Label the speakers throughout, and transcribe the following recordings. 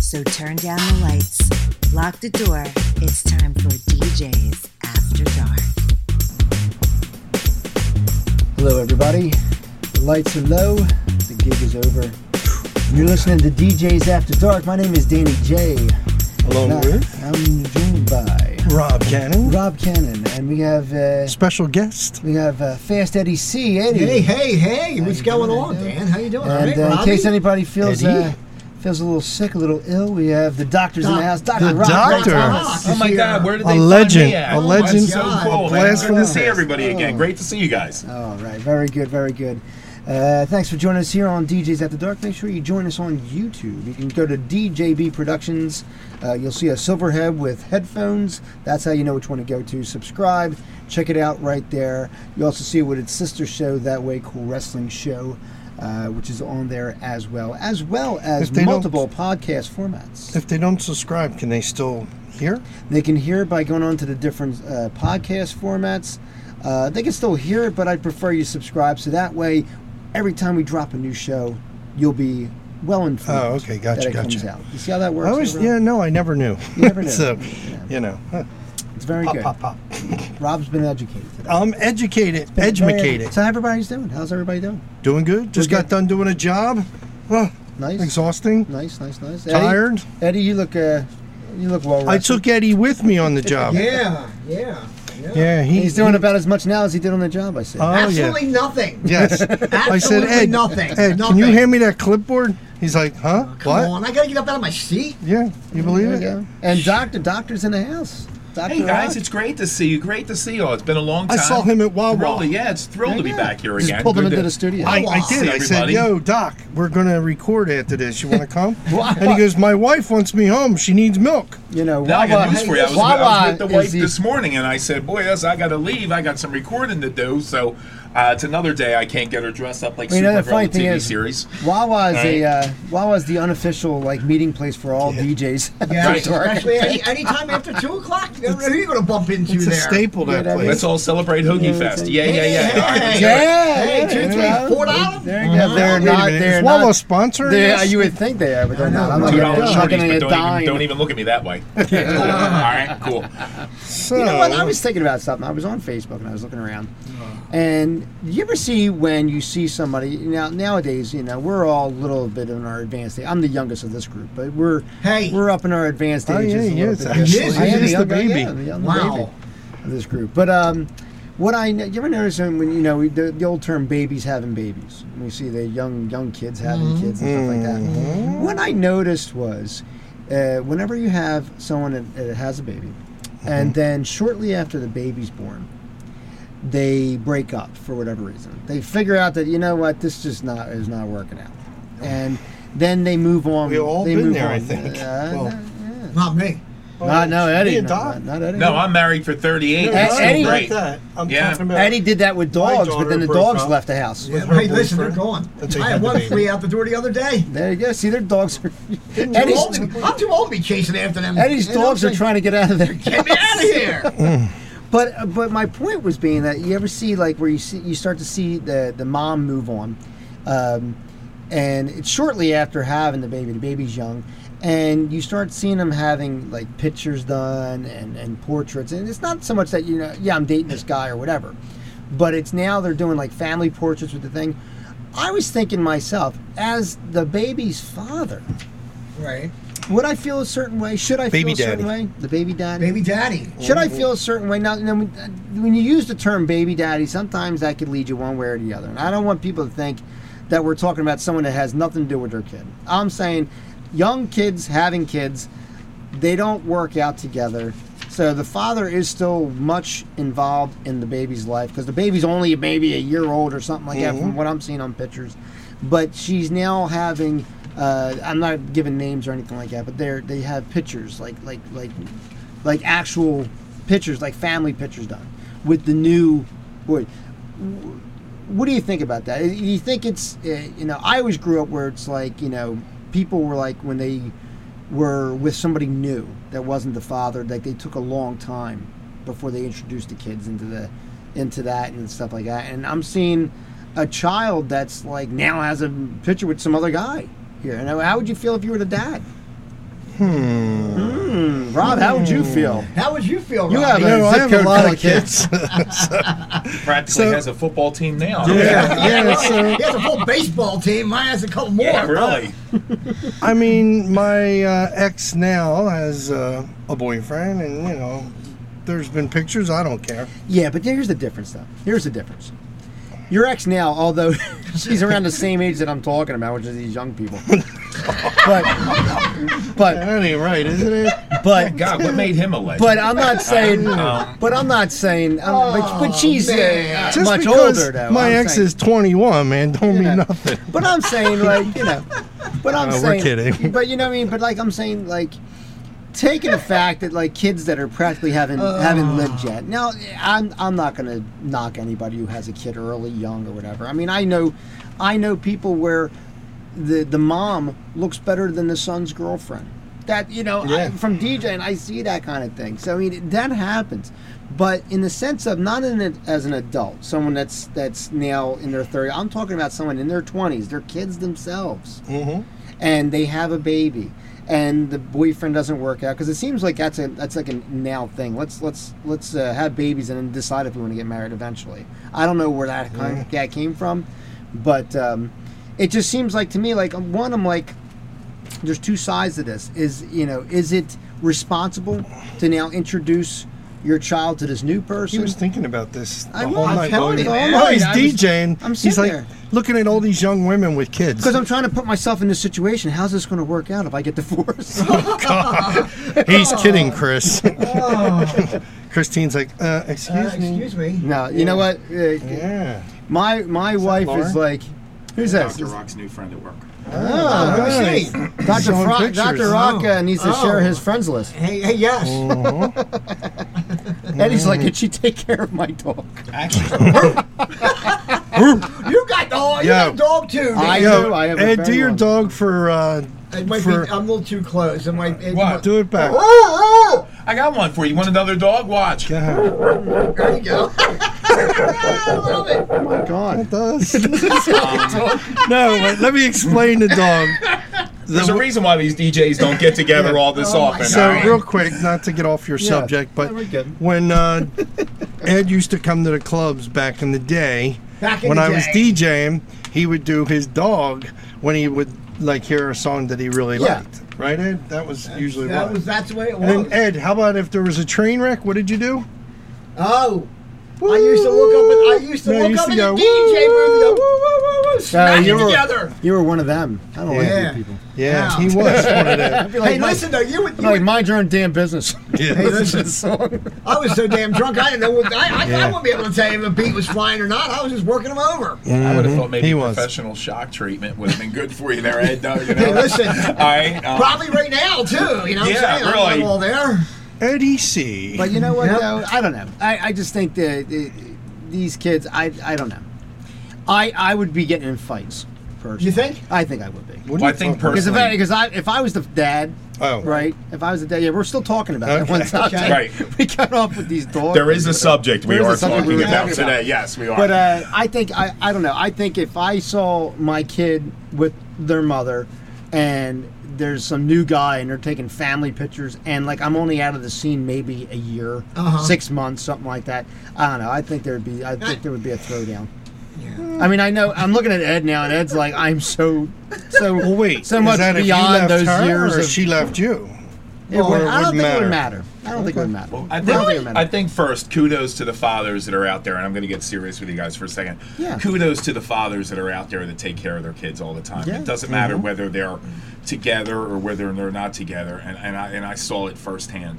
Speaker 1: So turn down the lights, lock the door. It's time for DJ's After Dark.
Speaker 2: Hello, everybody. The lights are low. The gig is over. You're listening to DJs After Dark. My name is Danny J. And
Speaker 3: Along
Speaker 2: I-
Speaker 3: with
Speaker 2: I'm joined by
Speaker 3: Rob Cannon,
Speaker 2: Rob Cannon, and we have uh,
Speaker 3: special guest.
Speaker 2: we have uh, Fast Eddie C. Eddie.
Speaker 4: Hey, hey, hey! what's
Speaker 2: you
Speaker 4: going
Speaker 2: doing,
Speaker 4: on,
Speaker 2: Eddie?
Speaker 4: Dan? How you doing? All
Speaker 2: And
Speaker 4: right,
Speaker 2: uh, in
Speaker 4: Robbie?
Speaker 2: case anybody feels
Speaker 4: Eddie?
Speaker 2: uh, feels a little sick, a little ill, we have the doctors in the
Speaker 4: Doc-
Speaker 2: house. Dr.
Speaker 3: the
Speaker 2: Rob.
Speaker 3: doctor.
Speaker 5: Oh my God, where did they
Speaker 3: A
Speaker 5: find
Speaker 3: legend,
Speaker 5: me at?
Speaker 3: a
Speaker 5: Oh,
Speaker 3: legend,
Speaker 5: that's so
Speaker 4: a
Speaker 5: cool.
Speaker 3: blast from
Speaker 5: Good
Speaker 3: the
Speaker 5: to see
Speaker 3: past.
Speaker 5: everybody again. Great to see you guys.
Speaker 2: All right, very good, very good. Uh, thanks for joining us here on DJs After Dark. Make sure you join us on YouTube. You can go to DJB Productions. Uh, you'll see a silverhead with headphones. That's how you know which one to go to. Subscribe, check it out right there. You also see what its sister show, That Way Cool Wrestling Show, uh, which is on there as well, as well as
Speaker 3: If they don't-
Speaker 2: multiple podcast formats.
Speaker 3: If they don't subscribe, can they still hear?
Speaker 2: They can hear it by going on to the different uh, podcast formats. Uh, they can still hear it, but I'd prefer you subscribe so that way, every time we drop a new show, you'll be well informed.
Speaker 3: Oh, okay, gotcha,
Speaker 2: that it comes
Speaker 3: gotcha.
Speaker 2: out. You see how that
Speaker 3: I
Speaker 2: works?
Speaker 3: always,
Speaker 2: Gabriel?
Speaker 3: yeah, no, I never knew.
Speaker 2: You never knew.
Speaker 3: so,
Speaker 2: Yeah.
Speaker 3: you know, huh.
Speaker 2: it's very
Speaker 3: pop,
Speaker 2: good.
Speaker 3: pop, pop.
Speaker 2: Rob's been educated today.
Speaker 3: I'm educated,
Speaker 2: Been very-
Speaker 3: educated.
Speaker 2: So how everybody's doing? How's everybody doing?
Speaker 3: Doing good. Just
Speaker 2: We're
Speaker 3: got
Speaker 2: good.
Speaker 3: done doing a job. Well,
Speaker 2: Nice.
Speaker 3: exhausting.
Speaker 2: Nice, nice, nice. Eddie-
Speaker 3: Tired.
Speaker 2: Eddie, you look uh, you look well.
Speaker 3: I
Speaker 2: rested.
Speaker 3: took Eddie with me on the job.
Speaker 4: Yeah, yeah, yeah.
Speaker 3: yeah, he-
Speaker 2: He's doing
Speaker 3: he-
Speaker 2: about as much now as he did on the job. I said.
Speaker 3: Oh, yeah.
Speaker 4: Absolutely nothing.
Speaker 3: Yes. I said,
Speaker 4: Absolutely
Speaker 3: Ed,
Speaker 4: nothing.
Speaker 3: Ed, can
Speaker 4: Nothing.
Speaker 3: you hand me that clipboard? He's like, huh?
Speaker 4: Come
Speaker 3: what?
Speaker 4: on, I gotta get up out of my seat.
Speaker 3: Yeah, you believe
Speaker 2: There
Speaker 3: it?
Speaker 2: we go. And doctor, doctor's in the house. Doctor
Speaker 5: Hey guys,
Speaker 2: Rob.
Speaker 5: it's great to see you. Great to see you. all. It's been a long
Speaker 3: I
Speaker 5: time.
Speaker 3: saw him at Wawa.
Speaker 5: Really, yeah, it's thrilled to be
Speaker 2: Yeah.
Speaker 5: back here
Speaker 2: Just
Speaker 5: again.
Speaker 2: pulled him
Speaker 5: Good
Speaker 2: into
Speaker 5: to-
Speaker 2: the studio.
Speaker 3: I, I
Speaker 5: See
Speaker 3: did. I said,
Speaker 5: everybody.
Speaker 3: "Yo, Doc, we're gonna record after this. You want to come?" and he goes, "My wife wants me home. She needs milk."
Speaker 2: You know,
Speaker 5: Now I
Speaker 2: Wawa,
Speaker 5: got news for you. I was, I was
Speaker 2: Wawa
Speaker 5: with the
Speaker 2: is
Speaker 5: wife
Speaker 2: the-
Speaker 5: this morning, and I said, "Boy, yes, I got to leave. I got some recording to do." So uh, it's another day I can't get her dressed up like
Speaker 2: You know, the
Speaker 5: Supergirl
Speaker 2: funny
Speaker 5: in
Speaker 2: thing
Speaker 5: TV
Speaker 2: is,
Speaker 5: series.
Speaker 2: Wawa is a
Speaker 5: Right.
Speaker 2: uh, Wawa is the unofficial like meeting place for all DJs.
Speaker 4: Yeah,
Speaker 5: Right.
Speaker 4: especially any, anytime after two o'clock. You never know who you're gonna bump into
Speaker 3: It's
Speaker 4: there.
Speaker 3: a staple that
Speaker 2: Yeah, that
Speaker 3: place.
Speaker 5: Let's all celebrate Hoagie Fest. Yeah, yeah,
Speaker 4: Hey,
Speaker 5: yeah.
Speaker 4: hey, hey,
Speaker 2: Yeah,
Speaker 4: Hey,
Speaker 2: yeah,
Speaker 4: two, three,
Speaker 2: yeah.
Speaker 4: four dollars.
Speaker 2: There you go. They're
Speaker 3: Wait a
Speaker 2: not.
Speaker 3: minute,
Speaker 2: They're
Speaker 3: is
Speaker 2: not.
Speaker 3: Wawa sponsoring
Speaker 2: they're-
Speaker 3: this?
Speaker 2: you would think they are, but they're not. I'm not
Speaker 5: Two
Speaker 2: gonna-
Speaker 5: dollar
Speaker 2: I'm not gonna
Speaker 5: shorties, but
Speaker 2: get
Speaker 5: don't even,
Speaker 2: dime.
Speaker 5: don't even look at me that way. Yeah, cool. All right, cool.
Speaker 3: So,
Speaker 2: You know what? I was thinking about something. I was on Facebook and I was looking around. And you ever see when you see somebody now nowadays? You know, we're all a little bit in our advanced. age. I'm the youngest of this group, but we're
Speaker 4: Hey.
Speaker 2: we're up in our advanced
Speaker 3: Oh,
Speaker 2: ages.
Speaker 3: yeah,
Speaker 2: a
Speaker 3: he
Speaker 2: little
Speaker 3: is,
Speaker 2: bit.
Speaker 3: actually.
Speaker 2: I am
Speaker 3: He's the
Speaker 2: young guy,
Speaker 3: baby.
Speaker 2: yeah, the young
Speaker 4: Wow.
Speaker 2: baby of this group. But um, what I kn- you ever notice when when, you know we, the, the old term "babies having babies"? We see the young young kids having
Speaker 3: Mm-hmm.
Speaker 2: kids and stuff like that. What I noticed was uh, whenever you have someone that, that has a baby,
Speaker 3: Mm-hmm.
Speaker 2: and then shortly after the baby's born, they break up for whatever reason. They figure out that you know what, this just not is not working out, and then they move on.
Speaker 3: We've all
Speaker 2: they
Speaker 3: been
Speaker 2: move
Speaker 3: there, I
Speaker 2: on.
Speaker 3: think.
Speaker 2: Uh,
Speaker 3: Well,
Speaker 4: Not me.
Speaker 2: not, no,
Speaker 3: Me
Speaker 2: Eddie.
Speaker 3: and
Speaker 2: No,
Speaker 3: Doc.
Speaker 2: not, not Eddie.
Speaker 5: No, I'm married for 38.
Speaker 3: No,
Speaker 5: That's
Speaker 3: no,
Speaker 5: still
Speaker 2: Eddie-
Speaker 3: not
Speaker 5: great.
Speaker 3: that. I'm
Speaker 5: Yeah.
Speaker 3: talking about
Speaker 2: Eddie did that with
Speaker 3: My
Speaker 2: dogs, but then
Speaker 3: daughter
Speaker 2: the
Speaker 3: broke
Speaker 2: dogs
Speaker 3: up.
Speaker 2: left the house.
Speaker 3: With her
Speaker 4: Hey, listen, they're
Speaker 3: boyfriend.
Speaker 4: gone.
Speaker 3: That's
Speaker 4: I
Speaker 3: a
Speaker 4: had one
Speaker 3: baby.
Speaker 4: flea out the door the other day.
Speaker 2: There you go. See, their dogs are.
Speaker 4: Too old
Speaker 2: Eddie's,
Speaker 4: to- I'm too old to be chasing after them.
Speaker 2: Eddie's
Speaker 4: You know what
Speaker 2: dogs
Speaker 4: I'm
Speaker 2: are trying to get out of there.
Speaker 4: saying? Get me out of here.
Speaker 2: But uh, but my point was being that you ever see like where you see you start to see the the mom move on, um, and it's shortly after having the baby. The baby's young, and you start seeing them having like pictures done and and portraits. And it's not so much that you know yeah I'm dating this guy or whatever, but it's now they're doing like family portraits with the thing. I was thinking myself as the baby's father,
Speaker 4: Right.
Speaker 2: would I feel a certain way? Should I
Speaker 3: Baby
Speaker 2: feel a certain
Speaker 3: daddy.
Speaker 2: way? The baby daddy.
Speaker 4: Baby daddy.
Speaker 2: Should I feel a certain way? Now, now, when- when you use the term baby daddy, sometimes that could lead you one way or the other. And I don't want people to think that we're talking about someone that has nothing to do with their kid. I'm saying young kids having kids, they don't work out together. So the father is still much involved in the baby's life because the baby's only maybe a year old or something like that, from what I'm seeing on pictures. But she's now having. Uh, I'm not giving names or anything like that, but they they have pictures like like like like actual pictures, like family pictures done with the new boy. What do you think about that? Do you think it's uh, you know I always grew up where it's like you know people were like when they were with somebody new that wasn't the father, like they took a long time before they introduced the kids into the into that and stuff like that. And I'm seeing a child that's like now has a picture with some other guy here. And how would you feel if you were the dad? Hmm. Rob, how would you feel?
Speaker 4: How would you feel?
Speaker 2: You
Speaker 4: Rob?
Speaker 2: have
Speaker 3: You know,
Speaker 2: a
Speaker 3: I
Speaker 2: zip
Speaker 3: have
Speaker 2: code
Speaker 3: a lot
Speaker 2: full
Speaker 3: of kids.
Speaker 5: Practically
Speaker 3: So-
Speaker 5: has a football team now.
Speaker 3: yeah, yeah. So
Speaker 4: He has a full baseball team. Mine has a couple more.
Speaker 5: Yeah, really.
Speaker 3: I mean, my uh, ex now has uh, a boyfriend, and you know, there's been pictures. I don't care.
Speaker 2: Yeah, but here's the difference, though. Here's the difference. Your ex now, although she's around the same age that I'm talking about, which is these young people, but but
Speaker 3: That ain't right, isn't it?
Speaker 2: but
Speaker 5: God, what made him a legend?
Speaker 2: but I'm not saying.
Speaker 3: Oh.
Speaker 2: But I'm not saying. um, but, but she's uh,
Speaker 4: man.
Speaker 3: Just
Speaker 2: much
Speaker 3: because
Speaker 2: older though.
Speaker 3: my
Speaker 2: I'm
Speaker 3: ex
Speaker 2: saying.
Speaker 3: is 21, man, don't
Speaker 2: Yeah.
Speaker 3: mean nothing.
Speaker 2: But I'm saying like you know. But I'm
Speaker 3: Uh, we're
Speaker 2: saying.
Speaker 3: kidding.
Speaker 2: But you know what I mean. But like I'm saying like. Taking the fact that like kids that are practically haven't haven't lived yet. Now, I'm I'm not gonna knock anybody who has a kid early, young, or whatever. I mean, I know, I know people where the the mom looks better than the son's girlfriend. That you know I,
Speaker 3: Yeah.
Speaker 2: from DJ and I see that kind of thing. So I mean that happens, but in the sense of not in it as an adult, someone that's that's now in their 30s. I'm talking about someone in their twenties. They're kids themselves,
Speaker 3: Mhm.
Speaker 2: and they have a baby, and the boyfriend doesn't work out because it seems like that's a that's like a now thing. Let's let's let's uh, have babies and then decide if we want to get married eventually. I don't know where that kind that came from, but. Um, it just seems like to me like um, one i'm like there's two sides to this is you know is it responsible to now introduce your child to this new
Speaker 3: He
Speaker 2: person
Speaker 3: was thinking about this the
Speaker 2: I was,
Speaker 3: whole
Speaker 2: I'm
Speaker 3: night
Speaker 2: telling
Speaker 3: long.
Speaker 2: you, all
Speaker 3: While
Speaker 2: night, Oh,
Speaker 3: Oh, he's
Speaker 2: I was-
Speaker 3: DJing.
Speaker 2: I'm
Speaker 3: he's
Speaker 2: sitting
Speaker 3: like
Speaker 2: there.
Speaker 3: looking at all these young women with kids.
Speaker 2: because i'm trying to put myself in this situation how's this going to work out if i get divorced
Speaker 3: he's kidding, Chris. Christine's like, uh, excuse
Speaker 4: Uh,
Speaker 3: me.
Speaker 4: excuse me.
Speaker 2: no you know what Uh,
Speaker 3: Yeah.
Speaker 2: my my wife is
Speaker 3: Laura?
Speaker 2: like who's that
Speaker 5: Dr. Rock's new friend at work.
Speaker 2: Oh,
Speaker 4: Let me see.
Speaker 2: dr,
Speaker 3: Showing
Speaker 2: Fro-
Speaker 3: pictures.
Speaker 2: dr rock uh, needs to
Speaker 4: Oh.
Speaker 2: share his friends list
Speaker 4: Hey, hey, yes.
Speaker 2: and he's like could she take care of my dog
Speaker 5: Actually,
Speaker 4: You got dog.
Speaker 3: Yeah.
Speaker 4: You got dog too.
Speaker 2: I
Speaker 4: man.
Speaker 2: do,
Speaker 3: Yo,
Speaker 2: I have a
Speaker 3: Ed,
Speaker 2: fair
Speaker 3: do your
Speaker 2: one.
Speaker 3: dog for. Uh,
Speaker 4: It might
Speaker 3: for
Speaker 4: be, I'm a little too close. It might. It
Speaker 5: What?
Speaker 4: might-
Speaker 3: do it back.
Speaker 4: Oh,
Speaker 5: I got one for you. Want another dog? Watch.
Speaker 3: God,
Speaker 4: oh. There you go. I love it.
Speaker 2: oh my god
Speaker 3: it does. no, but let me explain the dog.
Speaker 5: There's a reason why these DJs don't get together all this
Speaker 4: Oh my
Speaker 5: often.
Speaker 3: So
Speaker 5: all right?
Speaker 3: real quick, not to get off your subject, but
Speaker 2: we're good.
Speaker 3: when uh, Ed used to come to the clubs back in the day,
Speaker 4: Back in
Speaker 3: when
Speaker 4: the
Speaker 3: I was
Speaker 4: day.
Speaker 3: DJing, he would do his dog when he would like hear a song that he really
Speaker 2: Yeah.
Speaker 3: liked. Right, Ed? That was usually
Speaker 4: That
Speaker 3: what.
Speaker 4: was. That's the way it
Speaker 3: and
Speaker 4: was.
Speaker 3: then Ed, how about if there was a train wreck? What did you do?
Speaker 4: Oh. I used to look up and I used to
Speaker 3: No,
Speaker 4: look
Speaker 3: you used
Speaker 4: up
Speaker 3: to
Speaker 4: in
Speaker 3: go,
Speaker 4: the DJ booth and go,
Speaker 3: "Woo,
Speaker 4: woo, woo, woo, woo, smack
Speaker 2: you
Speaker 4: it
Speaker 2: were-
Speaker 4: together.
Speaker 2: you were one of them i don't
Speaker 4: Yeah.
Speaker 2: like you people
Speaker 3: Yeah,
Speaker 4: Wow.
Speaker 3: he was one of them.
Speaker 2: I'd be like,
Speaker 4: Hey,
Speaker 2: "Mike,
Speaker 4: listen though, you would. You
Speaker 2: I'm like,
Speaker 4: would
Speaker 2: mind your own damn business.
Speaker 3: Yeah.
Speaker 4: I was so damn drunk, I didn't know. What, I, I, I
Speaker 3: Yeah.
Speaker 4: wouldn't be able to tell you if a beat was flying or not. I was just working them over.
Speaker 5: I would have thought maybe
Speaker 3: He was.
Speaker 5: professional shock treatment would have been good for you there, Ed. Though, you know?
Speaker 4: Hey, listen.
Speaker 5: All right. um,
Speaker 4: Probably right now too. You know,
Speaker 5: Yeah,
Speaker 4: what I'm saying I'm not
Speaker 5: really.
Speaker 4: all there.
Speaker 3: Eddie E C.
Speaker 2: But you know what,
Speaker 4: Yep.
Speaker 2: though? I don't know. I, I just think that uh, these kids, I, I don't know. I, I would be getting in fights, personally.
Speaker 4: You think?
Speaker 2: I think I would be.
Speaker 3: What
Speaker 5: well,
Speaker 3: do
Speaker 5: I
Speaker 3: you
Speaker 5: think
Speaker 3: talking
Speaker 2: Because if,
Speaker 5: personally.
Speaker 2: I, 'cause I, if I was the dad,
Speaker 3: about? Oh,
Speaker 2: right? If I was the dad, yeah, we're still talking about that
Speaker 3: Okay.
Speaker 2: one subject.
Speaker 5: Right.
Speaker 2: We got off with these dogs.
Speaker 5: There is a subject we
Speaker 2: There is a
Speaker 5: are
Speaker 2: subject we were
Speaker 5: talking about
Speaker 2: talking
Speaker 5: today.
Speaker 2: about.
Speaker 5: Yes, we are.
Speaker 2: But uh, I think I, I don't know. I think if I saw my kid with their mother, and there's some new guy, and they're taking family pictures, and like I'm only out of the scene maybe a year,
Speaker 4: Uh-huh.
Speaker 2: six months, something like that. I don't know. I think there'd be I think there would be a throwdown. I mean, I know I'm looking at Ed now, and Ed's like, I'm so, so
Speaker 3: Well, wait.
Speaker 2: so
Speaker 3: is
Speaker 2: much
Speaker 3: that if you
Speaker 2: beyond
Speaker 3: left
Speaker 2: those
Speaker 3: her,
Speaker 2: years.
Speaker 3: Or
Speaker 2: Of,
Speaker 3: she left you.
Speaker 2: it would-
Speaker 3: or it
Speaker 2: I don't
Speaker 3: wouldn't
Speaker 2: think it would
Speaker 3: matter?
Speaker 2: matter. I don't think it would matter.
Speaker 5: Well, I
Speaker 2: don't think it
Speaker 5: think,
Speaker 2: matters.
Speaker 5: I think first, kudos to the fathers that are out there, and I'm going to get serious with you guys for a second.
Speaker 2: Yeah.
Speaker 5: Kudos to the fathers that are out there that take care of their kids all the time.
Speaker 2: Yeah.
Speaker 5: It doesn't matter whether they're together or whether they're not together, and, and I and I saw it firsthand.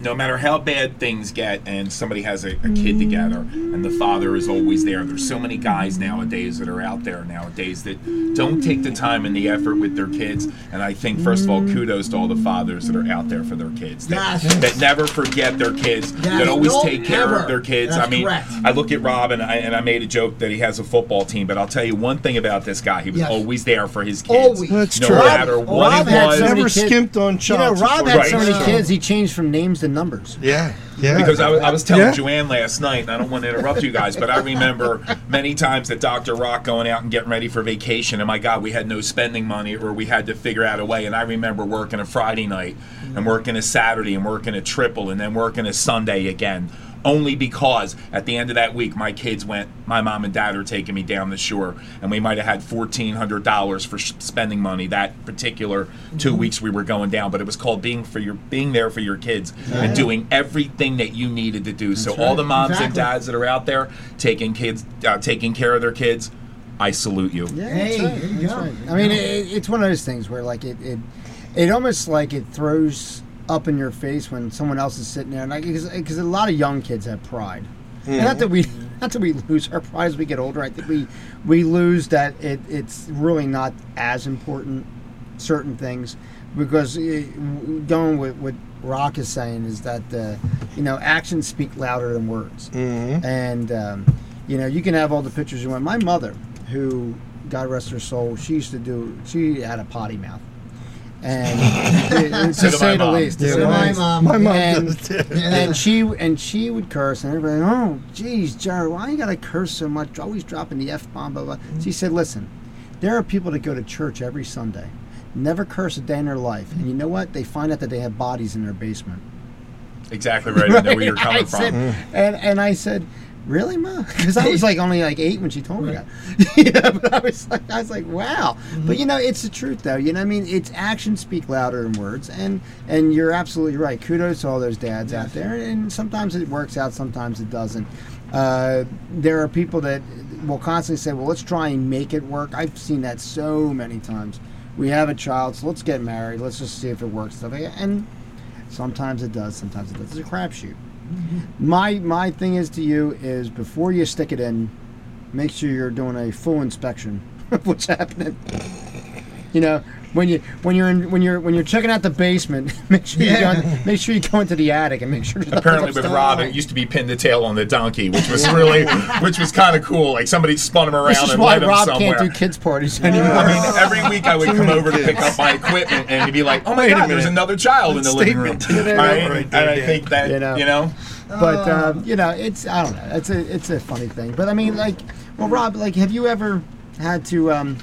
Speaker 5: No matter how bad things get, and somebody has a, a kid together, and the father is always there. There's so many guys nowadays that are out there nowadays that don't take the time and the effort with their kids. And I think, first of all, kudos to all the fathers that are out there for their kids. that-
Speaker 4: Yes.
Speaker 5: that never forget their kids, that
Speaker 4: Yes,
Speaker 5: always
Speaker 4: don't
Speaker 5: take care
Speaker 4: ever.
Speaker 5: of their kids.
Speaker 4: That's
Speaker 5: I mean,
Speaker 4: correct.
Speaker 5: I look at Rob and I, and I made a joke that he has a football team, but I'll tell you one thing about this guy: he was
Speaker 4: Yes.
Speaker 5: always there for his kids.
Speaker 4: Always.
Speaker 3: That's
Speaker 5: no
Speaker 3: true.
Speaker 5: matter
Speaker 2: Rob-
Speaker 5: what
Speaker 2: Rob
Speaker 5: it
Speaker 2: had
Speaker 5: was.
Speaker 2: so many
Speaker 3: Never
Speaker 2: kids-
Speaker 3: skimped on
Speaker 2: You know,
Speaker 3: child
Speaker 2: Rob
Speaker 3: support.
Speaker 2: had
Speaker 5: Right.
Speaker 2: so many
Speaker 5: Yeah.
Speaker 2: kids. He changed from names in numbers.
Speaker 3: Yeah, yeah.
Speaker 5: Because I was, I was telling
Speaker 3: Yeah.
Speaker 5: Joanne last night, and I don't want to interrupt you guys, but I remember many times that Dr. Rock going out and getting ready for vacation, and my God, we had no spending money or we had to figure out a way. And I remember working a Friday night and working a Saturday and working a triple and then working a Sunday again. Only because at the end of that week, my kids went, my mom and dad are taking me down the shore, and we might have had $1,400 for sh- spending money that particular 2
Speaker 2: Mm-hmm.
Speaker 5: weeks we were going down. But it was called being for your being there for your kids and doing everything that you needed to do. so all the moms and
Speaker 2: Exactly.
Speaker 5: dads that are out there taking kids, uh, taking care of their kids, I salute you.
Speaker 2: Yeah,
Speaker 4: Hey,
Speaker 2: that's
Speaker 4: there
Speaker 2: right.
Speaker 4: you
Speaker 2: that's
Speaker 4: go.
Speaker 2: right. I mean, it, it's one of those things where like it, it, it almost like it throws up in your face when someone else is sitting there, and because because a lot of young kids have pride, and
Speaker 5: Hmm.
Speaker 2: not that we. Not that we lose our pride as we get older. I think we we lose that it, it's really not as important certain things because eh, w- going with what Rock is saying is that uh, you know actions speak louder than words
Speaker 5: Mm-hmm.
Speaker 2: and um, you know you can have all the pictures you want. My mother, who God rest her soul, she used to do. She had a potty mouth, and to
Speaker 5: So did my
Speaker 2: say the
Speaker 5: mom.
Speaker 2: least, to
Speaker 3: Yeah,
Speaker 2: say the
Speaker 3: my
Speaker 2: least.
Speaker 4: mom.
Speaker 3: My mom
Speaker 2: And-
Speaker 3: does it.
Speaker 2: and she and she would curse, and everybody, oh, geez, Jared, why you gotta curse so much? Always dropping the f bomb, blah blah. She said, listen, there are people that go to church every Sunday, never curse a day in their life, and you know what? They find out that they have bodies in their basement.
Speaker 5: Exactly right. I know where you're
Speaker 2: I
Speaker 5: coming
Speaker 2: said-
Speaker 5: from. Mm-hmm.
Speaker 2: and and I said, "Really, ma?" Because I was like only like eight when she told me that. you know, but I was like, I was like, "Wow!"
Speaker 5: Mm-hmm.
Speaker 2: But you know, it's the truth, though. You know, what I mean, it's actions speak louder than words, and and you're absolutely right. Kudos to all those dads out there. And sometimes it works out, sometimes it doesn't. Uh, there are people that will constantly say, "Well, let's try and make it work." I've seen that so many times. We have a child, so let's get married. Let's just see if it works. Stuff like that. and Sometimes it does, sometimes it doesn't. It's a crapshoot. My my thing is to you is before you stick it in, make sure you're doing a full inspection of what's happening. You know, when you when you're in, when you're when you're checking out the basement, make sure you go in, make sure you go into the attic and make sure. there's nothing
Speaker 5: Apparently, with
Speaker 2: upstairs.
Speaker 5: Rob, it used to be pin the tail on the donkey, which was really, which was kind of cool. Like somebody spun him
Speaker 2: This
Speaker 5: around
Speaker 2: is
Speaker 5: and
Speaker 2: why
Speaker 5: led him
Speaker 2: Rob
Speaker 5: somewhere.
Speaker 2: can't do kids parties anymore.
Speaker 5: I mean, every week I would come over to pick up my equipment and he'd be like, "Oh my
Speaker 3: Wait a
Speaker 5: God, there's
Speaker 3: minute.
Speaker 5: another child in the living room."
Speaker 3: Statement to that
Speaker 5: Right?
Speaker 3: number right
Speaker 5: And
Speaker 3: there,
Speaker 5: I
Speaker 3: Dan.
Speaker 5: think that
Speaker 2: You know.
Speaker 5: you know,
Speaker 2: But um, you know, it's I don't know. It's a it's a funny thing. But I mean, like, well, Rob, like, have you ever had to? Um,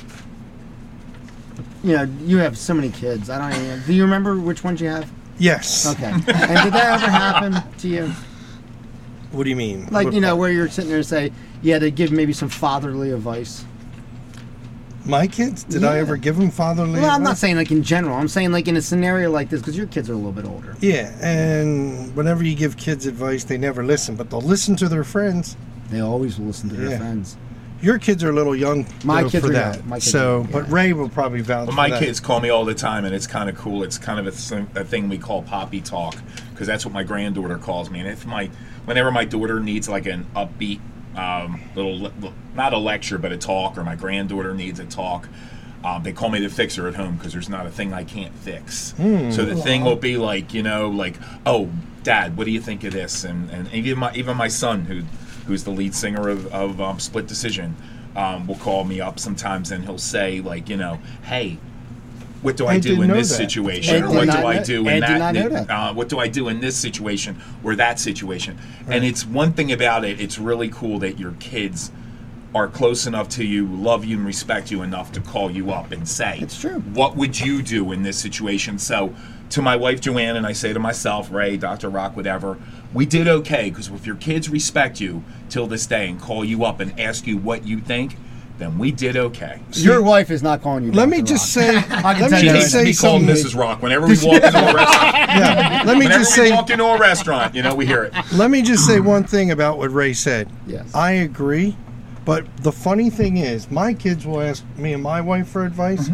Speaker 2: you know, you have so many kids. I don't even. Do you remember which ones you have?
Speaker 3: yes.
Speaker 2: Okay. and did that ever happen to you?
Speaker 3: What do you mean?
Speaker 2: Like,
Speaker 3: What
Speaker 2: you know,
Speaker 3: part?
Speaker 2: where you're sitting there and say, yeah, they give maybe some fatherly advice.
Speaker 3: my kids? Did I
Speaker 2: Yeah.
Speaker 3: ever give them fatherly?
Speaker 2: Well, I'm not
Speaker 3: advice?
Speaker 2: saying like in general. I'm saying like in a scenario like this because your kids are a little bit older.
Speaker 3: Yeah, and whenever you give kids advice, they never listen, but they'll listen to their friends.
Speaker 2: They always will listen to their
Speaker 3: Yeah.
Speaker 2: friends.
Speaker 3: Your kids are a little young
Speaker 2: My
Speaker 3: though,
Speaker 2: kids
Speaker 3: for
Speaker 2: are
Speaker 3: that.
Speaker 2: young. My kids
Speaker 3: so,
Speaker 2: are young,
Speaker 3: but
Speaker 2: yeah.
Speaker 3: Ray will probably vouch
Speaker 5: Well,
Speaker 3: for
Speaker 5: my
Speaker 3: that.
Speaker 5: kids call me all the time, and it's kind of cool. It's kind of a, thing- a thing we call poppy talk because that's what my granddaughter calls me. And if my, whenever my daughter needs like an upbeat um, little, le- not a lecture, but a talk, or my granddaughter needs a talk. Um, they call me the fixer at home because there's not a thing I can't fix. So the thing will be like, you know, like, oh, Dad, what do you think of this? And and even my even my son who who's the lead singer of, of um, Split Decision um, will call me up sometimes and he'll say like, you know, hey, what do I,
Speaker 3: I
Speaker 5: do
Speaker 3: didn't
Speaker 5: in
Speaker 3: know
Speaker 5: this
Speaker 3: that.
Speaker 5: situation?
Speaker 2: Ed
Speaker 5: Or
Speaker 2: did
Speaker 5: what do
Speaker 2: not
Speaker 5: I
Speaker 2: know-
Speaker 5: do
Speaker 2: Ed did
Speaker 5: in
Speaker 2: not
Speaker 5: that?
Speaker 2: know that.
Speaker 5: Uh, what do I do in this situation or that situation? And it's one thing about it. It's really cool that your kids are close enough to you, love you, and respect you enough to call you up and say,
Speaker 2: It's true.
Speaker 5: What would you do in this situation?" So, to my wife Joanne, and I say to myself, Ray, Doctor Rock, whatever, we did okay because if your kids respect you till this day and call you up and ask you what you think, then we did okay.
Speaker 2: Your wife is not calling you.
Speaker 3: Let me
Speaker 2: Dr.
Speaker 3: just
Speaker 2: Rock.
Speaker 3: say,
Speaker 2: can
Speaker 3: let
Speaker 2: tell
Speaker 3: me
Speaker 5: She
Speaker 2: you
Speaker 3: just
Speaker 5: needs to
Speaker 3: say
Speaker 5: be called
Speaker 3: something.
Speaker 5: Mrs. Rock whenever we walk into a restaurant.
Speaker 3: Yeah, let me
Speaker 5: Whenever
Speaker 3: just
Speaker 5: we
Speaker 3: say,
Speaker 5: walk into a restaurant, you know, we hear it.
Speaker 3: let me just say one thing about what Ray said.
Speaker 2: Yes.
Speaker 3: I agree, but the funny thing is, my kids will ask me and my wife for advice,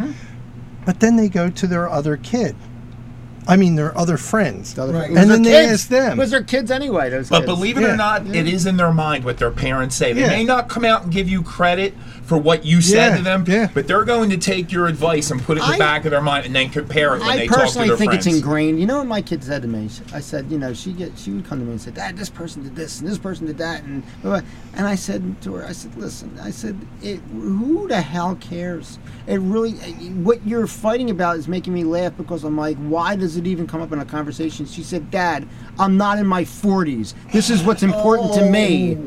Speaker 3: but then they go to their other kid. I mean, their other friends.
Speaker 2: The other-
Speaker 4: Right.
Speaker 2: It was
Speaker 3: And
Speaker 2: their
Speaker 3: then they
Speaker 2: kids.
Speaker 3: asked them.
Speaker 2: It was their kids anyway. Those kids.
Speaker 5: But believe it
Speaker 3: Yeah.
Speaker 5: or not, it is in their mind what their parents say. They
Speaker 3: Yeah.
Speaker 5: may not come out and give you credit for what you said
Speaker 3: Yeah,
Speaker 5: to them,
Speaker 3: yeah.
Speaker 5: but they're going to take your advice and put it in the
Speaker 2: I-
Speaker 5: back of their mind and then compare it when
Speaker 2: I
Speaker 5: they talk to
Speaker 2: personally
Speaker 5: their
Speaker 2: think
Speaker 5: friends.
Speaker 2: it's ingrained. You know what my kid said to me? I said, you know, she get she would come to me and say, Dad, this person did this and this person did that and blah, blah. and I said to her, I said, listen, I said, it, who the hell cares? It really, what you're fighting about is making me laugh because I'm like, why does does it even come up in a conversation? She said, Dad, I'm not in my 40s. This is what's important to me.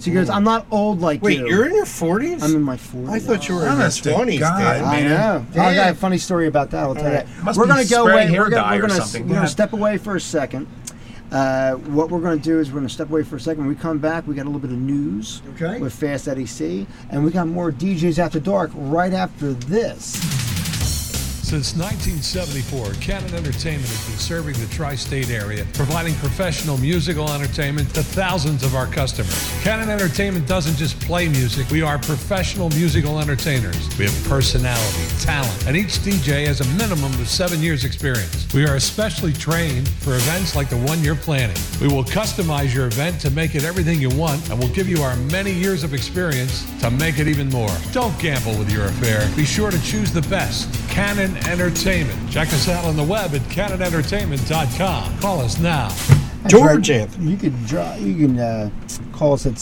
Speaker 2: She goes, I'm not old like
Speaker 3: Oh. Wait,
Speaker 2: you.
Speaker 3: you're in your 40s?
Speaker 2: I'm in my 40s.
Speaker 3: I thought you were in your
Speaker 5: Honest to
Speaker 3: 20s,
Speaker 5: God,
Speaker 3: Dad.
Speaker 2: I
Speaker 5: man.
Speaker 2: know. I got a
Speaker 4: Damn.
Speaker 2: funny story about that. I'll tell you. that.
Speaker 5: Must
Speaker 2: we're
Speaker 5: be
Speaker 2: going to go
Speaker 5: spraying
Speaker 2: away.
Speaker 5: hair
Speaker 2: We're
Speaker 5: dye
Speaker 2: going
Speaker 5: or
Speaker 2: to
Speaker 5: something.
Speaker 2: we're going
Speaker 5: Yeah.
Speaker 2: to step away for a second. Uh, what we're going to do is we're going to step away for a second. When we come back, we got a little bit of news
Speaker 4: Okay.
Speaker 2: with Fast Eddie C, and we got more DJs after dark right after this.
Speaker 6: Since 1974, Cannon Entertainment has been serving the tri state area, providing professional musical entertainment to thousands of our customers. Cannon Entertainment doesn't just play music, we are professional musical entertainers. We have personality, talent, and each DJ has a minimum of seven years' experience. We are especially trained for events like the one you're planning. We will customize your event to make it everything you want, and we'll give you our many years of experience to make it even more. Don't gamble with your affair. Be sure to choose the best. Canon Entertainment. Check us out on the web at canonentertainment.com. Call us now.
Speaker 3: George Anthony.
Speaker 2: You can draw, you can uh, call us at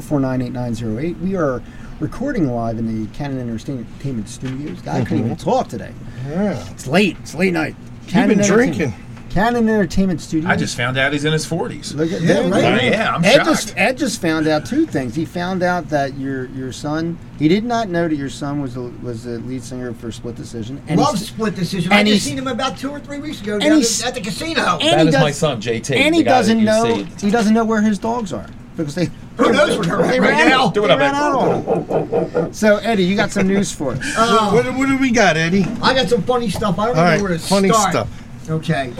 Speaker 2: 610-449-8908. We are recording live in the Cannon Entertainment Studios. I couldn't even talk today.
Speaker 3: Yeah.
Speaker 2: It's late. It's late night.
Speaker 3: You've been
Speaker 2: Entertainment-
Speaker 3: drinking.
Speaker 2: Cannon Entertainment Studios.
Speaker 5: I just found out he's in his 40s.
Speaker 2: Look at
Speaker 4: Yeah,
Speaker 2: there we
Speaker 4: right.
Speaker 2: go.
Speaker 5: Yeah, I'm
Speaker 2: Ed
Speaker 5: shocked.
Speaker 2: just Ed just found out two things. He found out that your your son he did not know that your son was the, was the lead singer for Split Decision. And he
Speaker 4: Love
Speaker 2: st-
Speaker 4: split decision.
Speaker 2: and
Speaker 4: I
Speaker 2: he's-
Speaker 4: just seen him about two or three weeks ago
Speaker 2: he
Speaker 4: down
Speaker 2: s-
Speaker 4: at, at the casino.
Speaker 2: and
Speaker 7: That
Speaker 2: he
Speaker 7: is my
Speaker 2: does-
Speaker 7: son, JT.
Speaker 2: And
Speaker 7: the
Speaker 2: he
Speaker 7: guy that
Speaker 2: doesn't
Speaker 7: you
Speaker 2: know
Speaker 7: saved.
Speaker 2: he doesn't know where his dogs are because they
Speaker 4: Who knows where they're at
Speaker 2: they
Speaker 4: right
Speaker 2: ran
Speaker 4: now?
Speaker 2: out-
Speaker 5: Do it
Speaker 2: they
Speaker 5: up,
Speaker 2: ran
Speaker 5: Ed.
Speaker 2: out on him. So Eddie, you got some news for us.
Speaker 4: Oh,
Speaker 3: What, what do we got, Eddie?
Speaker 4: I got some funny stuff. I don't
Speaker 3: All
Speaker 4: even
Speaker 3: right,
Speaker 4: know where to
Speaker 3: funny
Speaker 4: start.
Speaker 3: stuff.
Speaker 4: Okay.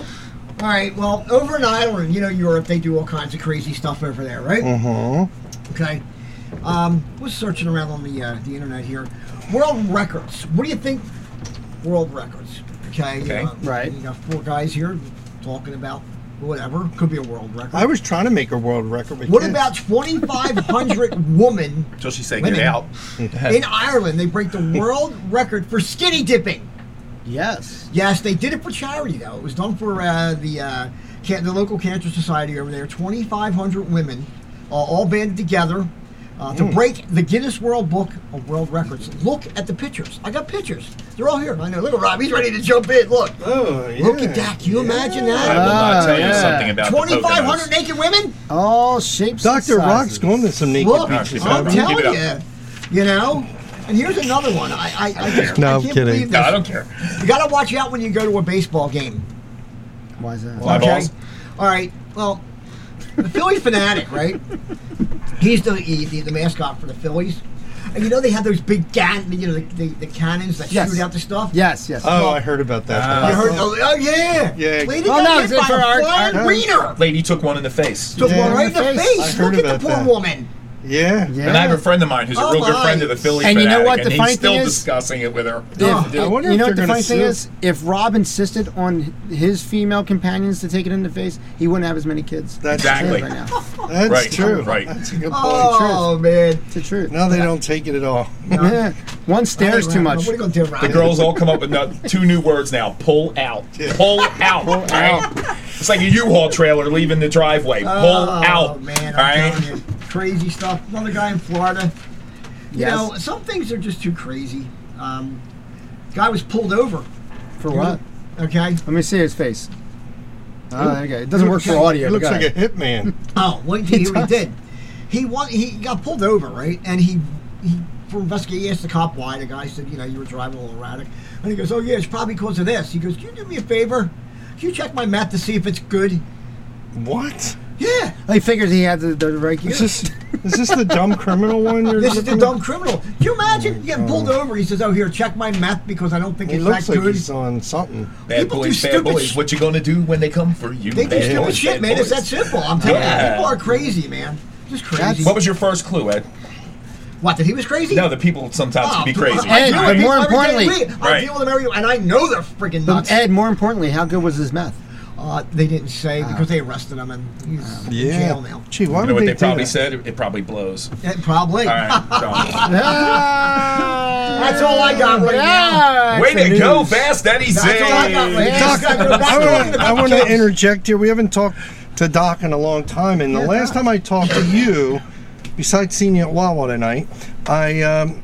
Speaker 4: All right. Well, over in Ireland, you know Europe, they do all kinds of crazy stuff over there, right?
Speaker 3: Mm-hmm.
Speaker 4: Okay. Um, was searching around on the uh, the internet here. World records. What do you think? World records. Okay.
Speaker 5: Okay.
Speaker 4: um,
Speaker 2: Right.
Speaker 4: You got four guys here talking about whatever. Could be a world record.
Speaker 3: I was trying to make a world record with
Speaker 4: what
Speaker 3: kids.
Speaker 4: about 2,500 women
Speaker 5: Until she said,
Speaker 4: Women.
Speaker 5: get out.
Speaker 4: in Ireland? They break the world record for skinny dipping.
Speaker 2: yes.
Speaker 4: Yes, they did it for charity though. It was done for uh, the uh, can- the local cancer society over there. Twenty five hundred women, uh, all banded together uh,
Speaker 5: Mm.
Speaker 4: to break the Guinness World Book of World Records. Look at the pictures. I got pictures. They're all here. I know. Look at Rob. He's ready to jump in. Look.
Speaker 3: Oh, yeah.
Speaker 4: Look at that. Can you imagine
Speaker 5: I will
Speaker 4: that?
Speaker 5: not tell you
Speaker 2: yeah.
Speaker 5: something about the
Speaker 4: Twenty five hundred
Speaker 5: Poconos.
Speaker 4: naked women.
Speaker 2: All shapes. and
Speaker 3: Dr. Rock's
Speaker 2: sizes.
Speaker 3: going to some naked
Speaker 4: Look,
Speaker 5: actually,
Speaker 3: beaches.
Speaker 4: I'm
Speaker 5: Rob, keep
Speaker 4: telling
Speaker 5: it
Speaker 4: you. You know. And here's another one. I I, I just
Speaker 3: No,
Speaker 4: I
Speaker 3: I'm
Speaker 4: can't
Speaker 3: kidding.
Speaker 4: believe
Speaker 5: No, I
Speaker 4: this.
Speaker 5: don't care.
Speaker 4: You got to watch out when you go to a baseball game.
Speaker 2: Why is that?
Speaker 5: Why?
Speaker 4: Okay.
Speaker 5: balls.
Speaker 4: All right. Well, the Philly fanatic, right? He's the, he, the the mascot for the Phillies. And you know they have those big can, you know, the, the, the cannons that
Speaker 2: Yes.
Speaker 4: shoot out the stuff.
Speaker 2: Yes, yes.
Speaker 3: Oh, I heard about that.
Speaker 5: Ah.
Speaker 4: You heard? Oh, oh, yeah.
Speaker 3: Yeah.
Speaker 4: Lady
Speaker 2: Oh,
Speaker 4: got
Speaker 2: no,
Speaker 4: hit
Speaker 2: it's good
Speaker 4: by
Speaker 2: for
Speaker 4: a
Speaker 2: our-
Speaker 4: flying
Speaker 2: our-
Speaker 4: wiener.
Speaker 5: Lady took one in the face.
Speaker 4: Took
Speaker 3: Yeah.
Speaker 4: one right in the
Speaker 2: face.
Speaker 4: face.
Speaker 3: I heard
Speaker 4: Look at
Speaker 3: about
Speaker 4: the poor
Speaker 3: that.
Speaker 4: woman.
Speaker 3: yeah.
Speaker 2: yeah.
Speaker 5: And I have a friend of mine who's a
Speaker 4: Oh,
Speaker 5: real good
Speaker 4: my.
Speaker 5: friend of the Philly
Speaker 2: And you
Speaker 5: fanatic,
Speaker 2: know what? The
Speaker 5: and he's
Speaker 2: funny thing
Speaker 5: still
Speaker 2: is-
Speaker 5: discussing it with her.
Speaker 4: Oh.
Speaker 2: you
Speaker 3: I wonder if
Speaker 2: know what
Speaker 3: they're
Speaker 2: the
Speaker 3: gonna
Speaker 2: funny thing
Speaker 3: sue.
Speaker 2: is? If Rob insisted on his female companions to take it in the face, he wouldn't have as many kids.
Speaker 3: That's
Speaker 5: Exactly.
Speaker 2: Right now.
Speaker 3: That's
Speaker 5: Right,
Speaker 3: true.
Speaker 5: right.
Speaker 3: That's a good point.
Speaker 4: Oh man.
Speaker 2: It's the truth.
Speaker 3: Now they don't take it at all.
Speaker 2: Yeah. One stare's too much.
Speaker 4: What are you gonna do, Rob?
Speaker 5: The girls all come up with no- two new words now: pull out, pull out. all right? It's like a U-Haul trailer leaving the driveway. Pull
Speaker 4: Oh,
Speaker 5: out.
Speaker 4: man.
Speaker 5: all
Speaker 4: I'm
Speaker 5: right?
Speaker 4: telling you, crazy stuff. Another guy in Florida. You
Speaker 2: Yes.
Speaker 4: know, some things are just too crazy. Um, guy was pulled over.
Speaker 2: For what?
Speaker 4: Okay.
Speaker 2: Let me see his face. Oh, okay. It doesn't work for audio.
Speaker 3: He looks
Speaker 2: but go
Speaker 3: like a
Speaker 2: ahead.
Speaker 3: hitman.
Speaker 4: Oh, wait till you hear what he did. He wa- he got pulled over, right? And he he for investigating he asked the cop why. The guy said, you know, you were driving a little erratic. And he goes, Oh yeah, it's probably because of this. He goes, Can you do me a favor? Can you check my map to see if it's good?
Speaker 3: What?
Speaker 4: Yeah.
Speaker 2: He figures he had the, the right gear.
Speaker 3: Is this is this the dumb criminal one? You're
Speaker 4: This is the
Speaker 3: looking
Speaker 4: dumb
Speaker 3: at?
Speaker 4: criminal. Can you imagine getting pulled over? He says, "Oh, here, check my map because I don't think
Speaker 3: Oh He
Speaker 4: it's
Speaker 3: looks
Speaker 4: that
Speaker 3: like
Speaker 4: good."
Speaker 3: he's on something.
Speaker 5: Bad
Speaker 4: People do
Speaker 5: boys, bad
Speaker 4: stupid
Speaker 5: boys.
Speaker 4: sh-
Speaker 5: what you gonna do when they come for you?
Speaker 4: They do
Speaker 5: bad
Speaker 4: stupid
Speaker 5: boys,
Speaker 4: shit,
Speaker 5: bad
Speaker 4: man. It's
Speaker 5: boys.
Speaker 4: that simple. I'm telling you,
Speaker 5: Yeah.
Speaker 4: people are crazy, man. Just crazy.
Speaker 5: What was your first clue, Ed?
Speaker 4: what? That he was crazy?
Speaker 5: No, the people sometimes
Speaker 4: Oh,
Speaker 5: can be crazy.
Speaker 4: I deal
Speaker 2: Ed,
Speaker 4: with
Speaker 2: but
Speaker 4: people
Speaker 2: more
Speaker 4: every day of the
Speaker 2: importantly-
Speaker 4: week. I
Speaker 5: Right.
Speaker 4: deal with them every, and I know they're freaking
Speaker 2: But
Speaker 4: nuts.
Speaker 2: Ed, more importantly, how good was his meth?
Speaker 4: Uh, they didn't say
Speaker 2: Ah.
Speaker 4: because they arrested him and he's in jail now.
Speaker 3: Gee, why
Speaker 5: You know
Speaker 3: would
Speaker 5: what
Speaker 3: they,
Speaker 5: they probably
Speaker 3: do that?
Speaker 5: said? It, it probably blows.
Speaker 4: Yeah, probably.
Speaker 5: All right.
Speaker 3: Ah!
Speaker 4: That's all I got right now.
Speaker 5: so- Way to go, Fast Eddie Z.
Speaker 4: That's all I got right now.
Speaker 3: Doc,
Speaker 4: Just gotta go back
Speaker 3: I
Speaker 4: to
Speaker 3: wanna-
Speaker 4: talking about
Speaker 3: I want to
Speaker 4: kids.
Speaker 3: interject here. We haven't talked to Doc in a long time, and the last time I talked to you, besides seeing you at Wawa tonight, I um,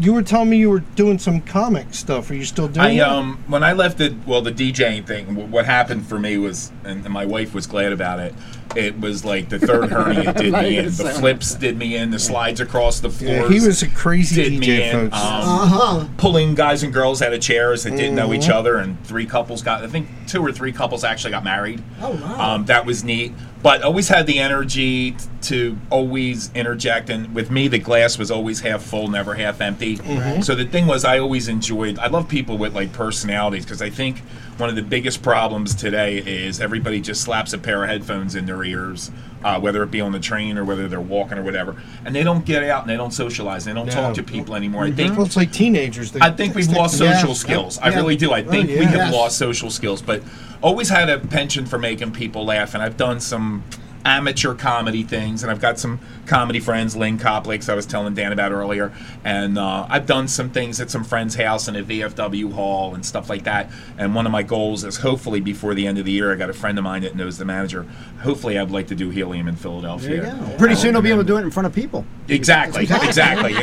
Speaker 3: you were telling me you were doing some comic stuff. Are you still doing
Speaker 5: I
Speaker 3: that?
Speaker 5: um when I left the well the DJing thing, wh- what happened for me was, and, and my wife was glad about it. It was like the third hernia did
Speaker 2: Not
Speaker 5: me
Speaker 2: even
Speaker 5: in, the
Speaker 2: saying
Speaker 5: flips did me in, the slides across the
Speaker 3: Yeah,
Speaker 5: floors.
Speaker 3: he was a crazy
Speaker 5: did me
Speaker 3: DJ,
Speaker 5: in.
Speaker 3: folks.
Speaker 5: Um,
Speaker 4: Uh huh.
Speaker 5: pulling guys and girls out of chairs that didn't know
Speaker 4: Mm-hmm.
Speaker 5: each other, and three couples got. I think two or three couples actually got married.
Speaker 4: Oh, wow.
Speaker 5: Um, that was neat. But always had the energy t- to always interject, and with me, the glass was always half full, never half empty.
Speaker 4: Mm-hmm.
Speaker 5: So the thing was, I always enjoyed. I love people with like personalities because I think one of the biggest problems today is everybody just slaps a pair of headphones in their ears. Uh, whether it be on the train or whether they're walking or whatever, and they don't get out and they don't socialize, they don't talk to
Speaker 3: No.
Speaker 5: people anymore.
Speaker 4: Mm-hmm.
Speaker 5: I think
Speaker 3: well, it's like teenagers. They
Speaker 5: I think we've
Speaker 3: stick
Speaker 5: lost
Speaker 3: to-
Speaker 5: social
Speaker 3: Yeah.
Speaker 5: skills.
Speaker 4: Yeah. Oh,
Speaker 5: I really do. I think we
Speaker 3: yeah.
Speaker 5: have
Speaker 4: Yes.
Speaker 5: lost social skills, but always had a penchant for making people laugh. And I've done some amateur comedy things, and I've got some comedy friends, Lynn Coplix, I was telling Dan about earlier. And uh, I've done some things at some friend's house and at VFW Hall and stuff like that. And one of my goals is hopefully before the end of the year, I got a friend of mine that knows the manager. Hopefully, I'd like to do Helium in Philadelphia.
Speaker 4: There you go.
Speaker 2: Pretty
Speaker 5: Um,
Speaker 2: soon I'll be
Speaker 5: and-
Speaker 2: able to do it in front of people.
Speaker 5: Exactly, exactly.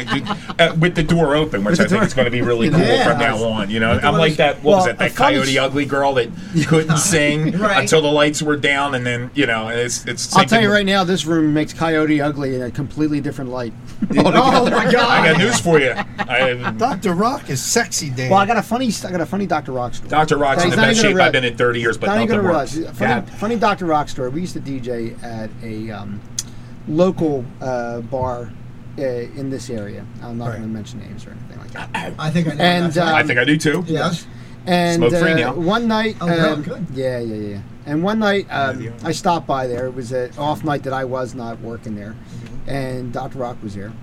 Speaker 5: Uh, with the door open, which I think is going to be really cool
Speaker 4: Yeah.
Speaker 5: from now on. You know,
Speaker 4: the
Speaker 5: I'm
Speaker 4: one
Speaker 5: like
Speaker 4: that's-
Speaker 5: that. What was
Speaker 2: Well,
Speaker 5: it?
Speaker 2: a
Speaker 5: That
Speaker 2: funny
Speaker 5: Coyote
Speaker 2: s-
Speaker 5: Ugly girl that couldn't sing
Speaker 4: Right.
Speaker 5: until the lights were down, and then you know, and it's it's.
Speaker 2: I'll
Speaker 5: same
Speaker 2: tell
Speaker 5: thing
Speaker 2: you
Speaker 5: with-
Speaker 2: right now, this room makes Coyote ugly in a completely different light.
Speaker 4: Oh my
Speaker 5: I got
Speaker 4: God.
Speaker 5: news for you. I,
Speaker 3: Dr. Rock is sexy, Dan.
Speaker 2: Well, I got a funny, I got a funny Dr. Rock story.
Speaker 5: Dr. Rock's in
Speaker 2: He's
Speaker 5: the
Speaker 2: not
Speaker 5: best
Speaker 2: even a
Speaker 5: shape
Speaker 2: red.
Speaker 5: I've been in 30 years, but
Speaker 2: Not even
Speaker 5: nothing
Speaker 2: gonna
Speaker 5: works.
Speaker 2: realize.
Speaker 5: Yeah.
Speaker 2: Funny, funny Dr. Rock story. We used to DJ at a um, local uh, bar uh, in this area. I'm not
Speaker 3: Right.
Speaker 2: going to mention names or anything like that.
Speaker 4: I think I know.
Speaker 2: And, uh,
Speaker 4: that.
Speaker 5: I think I do too.
Speaker 4: yes.
Speaker 2: And
Speaker 5: Smoke-free
Speaker 2: uh,
Speaker 5: now.
Speaker 2: one night,
Speaker 4: Oh, good,
Speaker 2: um,
Speaker 4: good.
Speaker 2: yeah, yeah, yeah. And one night, um,
Speaker 5: Yeah, the-
Speaker 2: I stopped by there. It was an off night that I was not working there,
Speaker 4: Mm-hmm.
Speaker 2: and Dr. Rock was there.